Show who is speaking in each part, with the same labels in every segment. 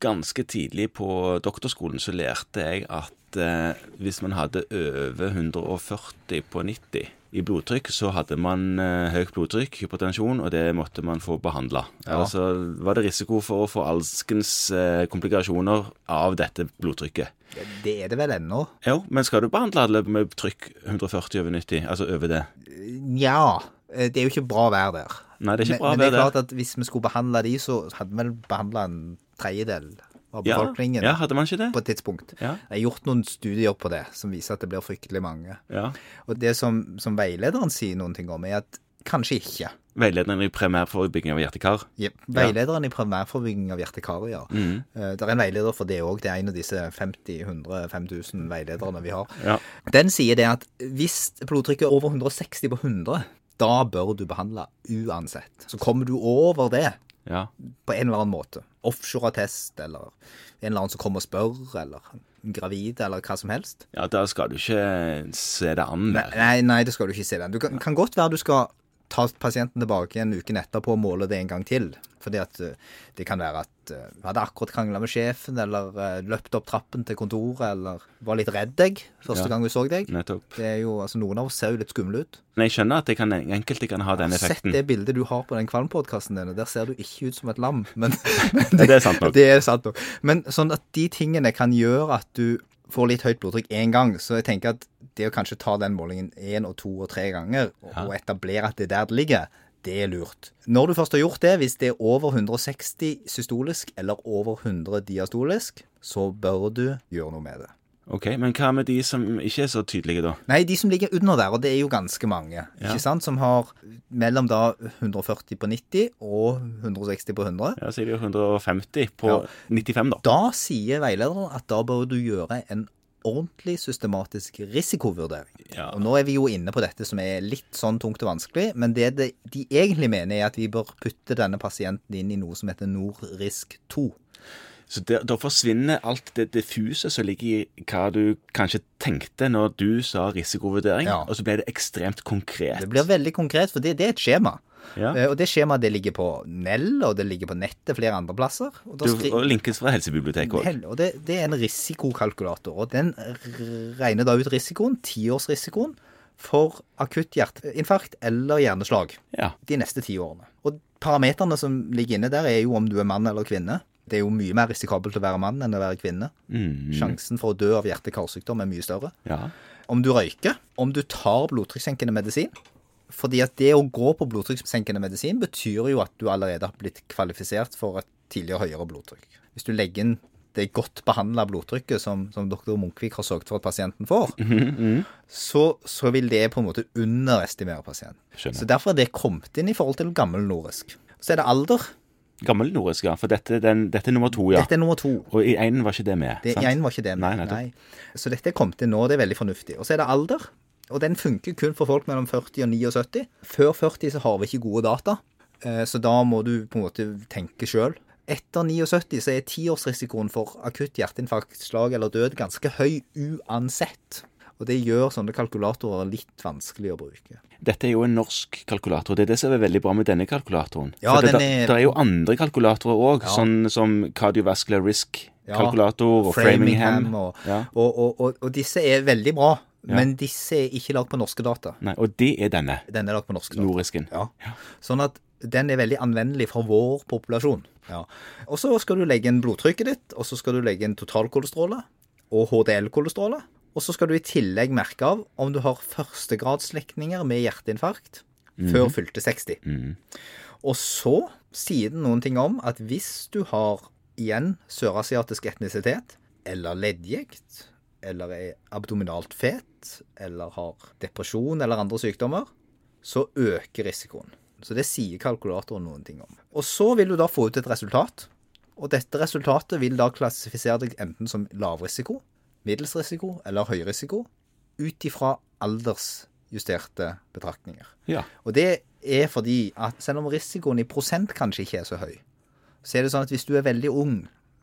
Speaker 1: ganske tidlig på doktorskolen så lærte jeg at eh, hvis man hadde over 140 på 90 i blodtrykk, så hadde man eh, høyt blodtrykk, hypotensjon, og det måtte man få behandla. Ellers så var det risiko for å få alskens eh, komplikasjoner av dette blodtrykket.
Speaker 2: Det, det er det vel ennå?
Speaker 1: Jo, men skal du behandle alle med trykk 140 over 90, altså over det?
Speaker 2: Nja. eh, Det er jo ikke bra vær der.
Speaker 1: Nei, det er ikke bra
Speaker 2: men, men
Speaker 1: vær
Speaker 2: det er
Speaker 1: der.
Speaker 2: klart at hvis vi skulle behandle de, så hadde vi vel behandla en tredjedel av
Speaker 1: Ja,
Speaker 2: befolkningen
Speaker 1: ja, hadde man ikke det?
Speaker 2: på et tidspunkt.
Speaker 1: Ja.
Speaker 2: Jeg har gjort noen studier på det som viser at det blir fryktelig mange.
Speaker 1: Ja.
Speaker 2: Og det som, som veilederen sier noen ting om, er at kanskje ikke.
Speaker 1: Veilederen i primærforebygging av hjertekar.
Speaker 2: Jep. Veilederen i primærforebygging av hjertekarier. Eh, Det er en veileder for det òg. Det er en av disse 50-100-5000 veilederne vi har.
Speaker 1: Ja.
Speaker 2: Den sier det at hvis blodtrykket er over 160 på 100, da bør du behandle uansett. Så kommer du over det
Speaker 1: Ja.
Speaker 2: på en eller annen måte, offshore-attest eller en eller annen som kommer og spør, eller en gravid, eller hva som helst
Speaker 1: ja, da skal du ikke se det an mer.
Speaker 2: Nei, nei, det skal du ikke se den. Du kan, kan godt være du skal ta pasienten tilbake en uke etterpå og måle det en gang til. Fordi at eh, det kan være at eh, du hadde akkurat krangla med sjefen, eller eh, løpt opp trappen til kontoret, eller var litt redd deg første
Speaker 1: Ja.
Speaker 2: gang vi så deg.
Speaker 1: Nettopp.
Speaker 2: Det er jo, altså Noen av oss ser jo litt skumle ut.
Speaker 1: Men jeg skjønner at det kan, enkelte kan ha den
Speaker 2: Sett
Speaker 1: effekten.
Speaker 2: det bildet du har på den kvalmpodkasten din, og der ser du ikke ut som et lam. Men, men
Speaker 1: Ja, det er sant nok.
Speaker 2: Det er sant nok. Men sånn at de tingene kan gjøre at du får litt høyt blodtrykk én gang, så jeg tenker at det å kanskje ta den målingen én og to og tre ganger, og, og etablere at det er der det ligger, det er lurt. Når du først har gjort det, hvis det er over 160 systolisk eller over 100 diastolisk, så bør du gjøre noe med det.
Speaker 1: Ok, Men hva med de som ikke er så tydelige, da?
Speaker 2: Nei, de som ligger under der, og det er jo ganske mange, ikke sant, som har mellom da 140 på 90 og 160 på 100.
Speaker 1: Ja, Så er det jo 150 på 95, da.
Speaker 2: Da sier veilederen at da bør du gjøre en ordentlig systematisk risikovurdering.
Speaker 1: Ja.
Speaker 2: Og nå er vi jo inne på dette som er litt sånn tungt og vanskelig, men det de, de egentlig mener er at vi bør putte denne pasienten inn i noe som heter NORRISK 2.
Speaker 1: Så der, da forsvinner alt det diffuse som ligger i hva du kanskje tenkte når du sa risikovurdering,
Speaker 2: Ja.
Speaker 1: og så ble det ekstremt konkret.
Speaker 2: Det blir veldig konkret, for det, det er et skjema.
Speaker 1: Ja.
Speaker 2: Eh, Og det skjemaet det ligger på Nell, og det ligger på nettet flere andre plasser. Og da
Speaker 1: Du,
Speaker 2: skri-
Speaker 1: og linkes fra helsebiblioteket òg.
Speaker 2: Hell, og det, det er en risikokalkulator, og den r- regner da ut risikoen, tiårsrisikoen, for akutt hjerteinfarkt eller hjerneslag
Speaker 1: Ja.
Speaker 2: de neste ti årene. Og parameterne som ligger inne der, er jo om du er mann eller kvinne. Det er jo mye mer risikabelt å være mann enn å være kvinne.
Speaker 1: Mm.
Speaker 2: Sjansen for å dø av hjerte-karsykdom er mye større.
Speaker 1: ja.
Speaker 2: Om du røyker, om du tar blodtrykkssenkende medisin. Fordi at det å gå på blodtrykkssenkende medisin betyr jo at du allerede har blitt kvalifisert for et tidligere høyere blodtrykk. Hvis du legger inn det godt behandla blodtrykket som, som doktor Munkvik har sørget for at pasienten får, så, så vil det på en måte underestimere pasienten.
Speaker 1: Skjønner.
Speaker 2: Så derfor er det kommet inn i forhold til gammel nordisk. Så er det alder.
Speaker 1: Gammel nordisk, ja. For dette, er den, dette er nummer to, ja.
Speaker 2: Dette er nummer to.
Speaker 1: Og i én var ikke det med.
Speaker 2: Det,
Speaker 1: sant?
Speaker 2: igjen var ikke det.
Speaker 1: Nei, nettopp.
Speaker 2: Så dette er kommet inn nå, det er veldig fornuftig. Og så er det alder, og den funker kun for folk mellom 40 og 79. Før 40 så har vi ikke gode data, eh, så da må du på en måte tenke sjøl. Etter 79 så er tiårsrisikoen for akutt hjerteinfarkt, slag eller død ganske høy uansett. Og det gjør sånne kalkulatorer litt vanskelig å bruke.
Speaker 1: Dette er jo en norsk kalkulator. Det er det som er veldig bra med denne kalkulatoren.
Speaker 2: Ja,
Speaker 1: For det,
Speaker 2: den
Speaker 1: det-
Speaker 2: er-
Speaker 1: det er jo andre kalkulatorer òg, sånn som cardiovascular risk-kalkulator og Framingham.
Speaker 2: og,
Speaker 1: Ja.
Speaker 2: og, og, og, og disse er veldig bra, men disse er ikke lagd på norske data.
Speaker 1: Nei, og det er denne,
Speaker 2: Denne er lagd på norske data.
Speaker 1: norisken.
Speaker 2: Ja. Sånn at den er veldig anvendelig for vår populasjon. Ja. Og så skal du legge inn blodtrykket ditt, og så skal du legge inn totalkolesterolet og HDL-kolesterolet. Og så skal du i tillegg merke av om du har førstegradsslektninger med hjerteinfarkt før fylte 60.
Speaker 1: Mm.
Speaker 2: Og så sier den noen ting om at hvis du har igjen sørasiatisk etnisitet, eller leddgikt, eller er abdominalt fet, eller har depresjon eller andre sykdommer, så øker risikoen. Så det sier kalkulatoren noen ting om. Og så vil du da få ut et resultat, og dette resultatet vil da klassifisere deg enten som lavrisiko, middels risiko eller høy risiko, ut ifra aldersjusterte betraktninger.
Speaker 1: Ja.
Speaker 2: Og det er fordi at selv om risikoen i prosent kanskje ikke er så høy, så er det sånn at hvis du er veldig ung,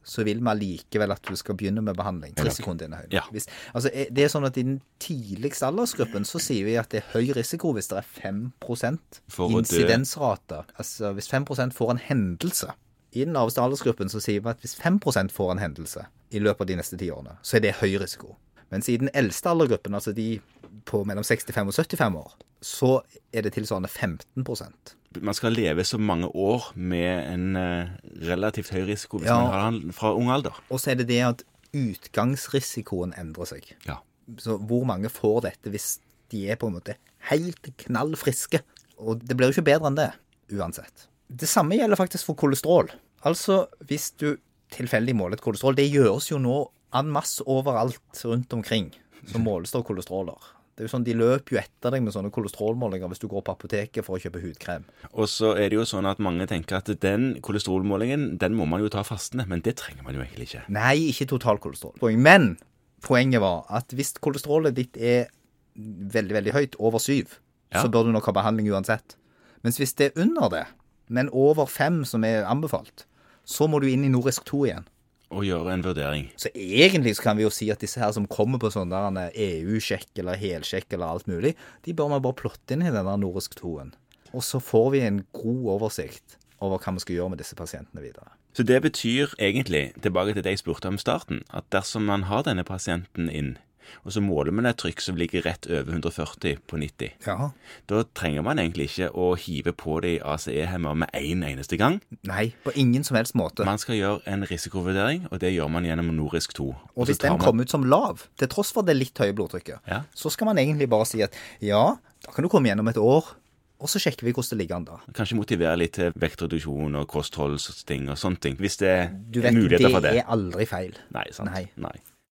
Speaker 2: så vil vi allikevel at du skal begynne med behandling. Risikoen din er høy.
Speaker 1: Ja.
Speaker 2: Hvis, altså, eh, det er sånn at I den tidligste aldersgruppen så sier vi at det er høy risiko hvis det er 5
Speaker 1: For å dø.
Speaker 2: insidensrate. Altså hvis 5 får en hendelse I den laveste aldersgruppen så sier vi at hvis 5 får en hendelse i løpet av de neste ti årene, så er det høy risiko. Mens i den eldste aldergruppen, altså de på mellom 65 og 75 år, så er det tilsvarende 15
Speaker 1: Man skal leve så mange år med en eh, relativt høy risiko hvis
Speaker 2: Ja.
Speaker 1: man har den fra ung alder.
Speaker 2: Og så er det det at utgangsrisikoen endrer seg.
Speaker 1: Ja.
Speaker 2: Så hvor mange får dette hvis de er på en måte helt knall friske? Og det blir jo ikke bedre enn det, uansett. Det samme gjelder faktisk for kolesterol. Altså, hvis du tilfeldig måler et kolesterol Det gjøres jo nå en masse overalt rundt omkring. Så måles det kolesteroler. Det er jo sånn, De løper jo etter deg med sånne kolesterolmålinger hvis du går på apoteket for å kjøpe hudkrem.
Speaker 1: Og så er det jo sånn at mange tenker at den kolesterolmålingen, den må man jo ta fastende, men det trenger man jo egentlig ikke.
Speaker 2: Nei, ikke totalkolesterol. Poeng. Men poenget var at hvis kolesterolet ditt er veldig, veldig høyt, over syv,
Speaker 1: Ja.
Speaker 2: så bør du nok ha behandling uansett. Mens hvis det er under det, men over fem som er anbefalt, så må du inn i Norisk 2 igjen.
Speaker 1: Å gjøre en vurdering.
Speaker 2: Så egentlig så kan vi jo si at disse her som kommer på sånn der en EU-sjekk eller helsjekk eller alt mulig, de bør man bare plotte inn i den der Norisk 2-en. Og så får vi en god oversikt over hva vi skal gjøre med disse pasientene videre.
Speaker 1: Så det betyr egentlig, tilbake til det jeg spurte om i starten, at dersom man har denne pasienten inn, og så måler man et trykk som ligger rett over 140 på 90,
Speaker 2: Ja.
Speaker 1: da trenger man egentlig ikke å hive på det i ACE-hemmer med én en eneste gang.
Speaker 2: Nei, på ingen som helst måte.
Speaker 1: Man skal gjøre en risikovurdering, og det gjør man gjennom Norisk 2.
Speaker 2: Og hvis
Speaker 1: så tar
Speaker 2: den
Speaker 1: man-
Speaker 2: kommer ut som lav, til tross for det litt høye blodtrykket,
Speaker 1: Ja.
Speaker 2: så skal man egentlig bare si at ja, da kan du komme gjennom et år, og så sjekker vi hvordan det ligger an da.
Speaker 1: Kanskje motivere litt til vektreduksjon og kostholdsting og sånne ting, hvis det
Speaker 2: Du
Speaker 1: er
Speaker 2: vet,
Speaker 1: muligheter for det.
Speaker 2: er aldri feil.
Speaker 1: Nei, sant.
Speaker 2: Nei.
Speaker 1: Nei.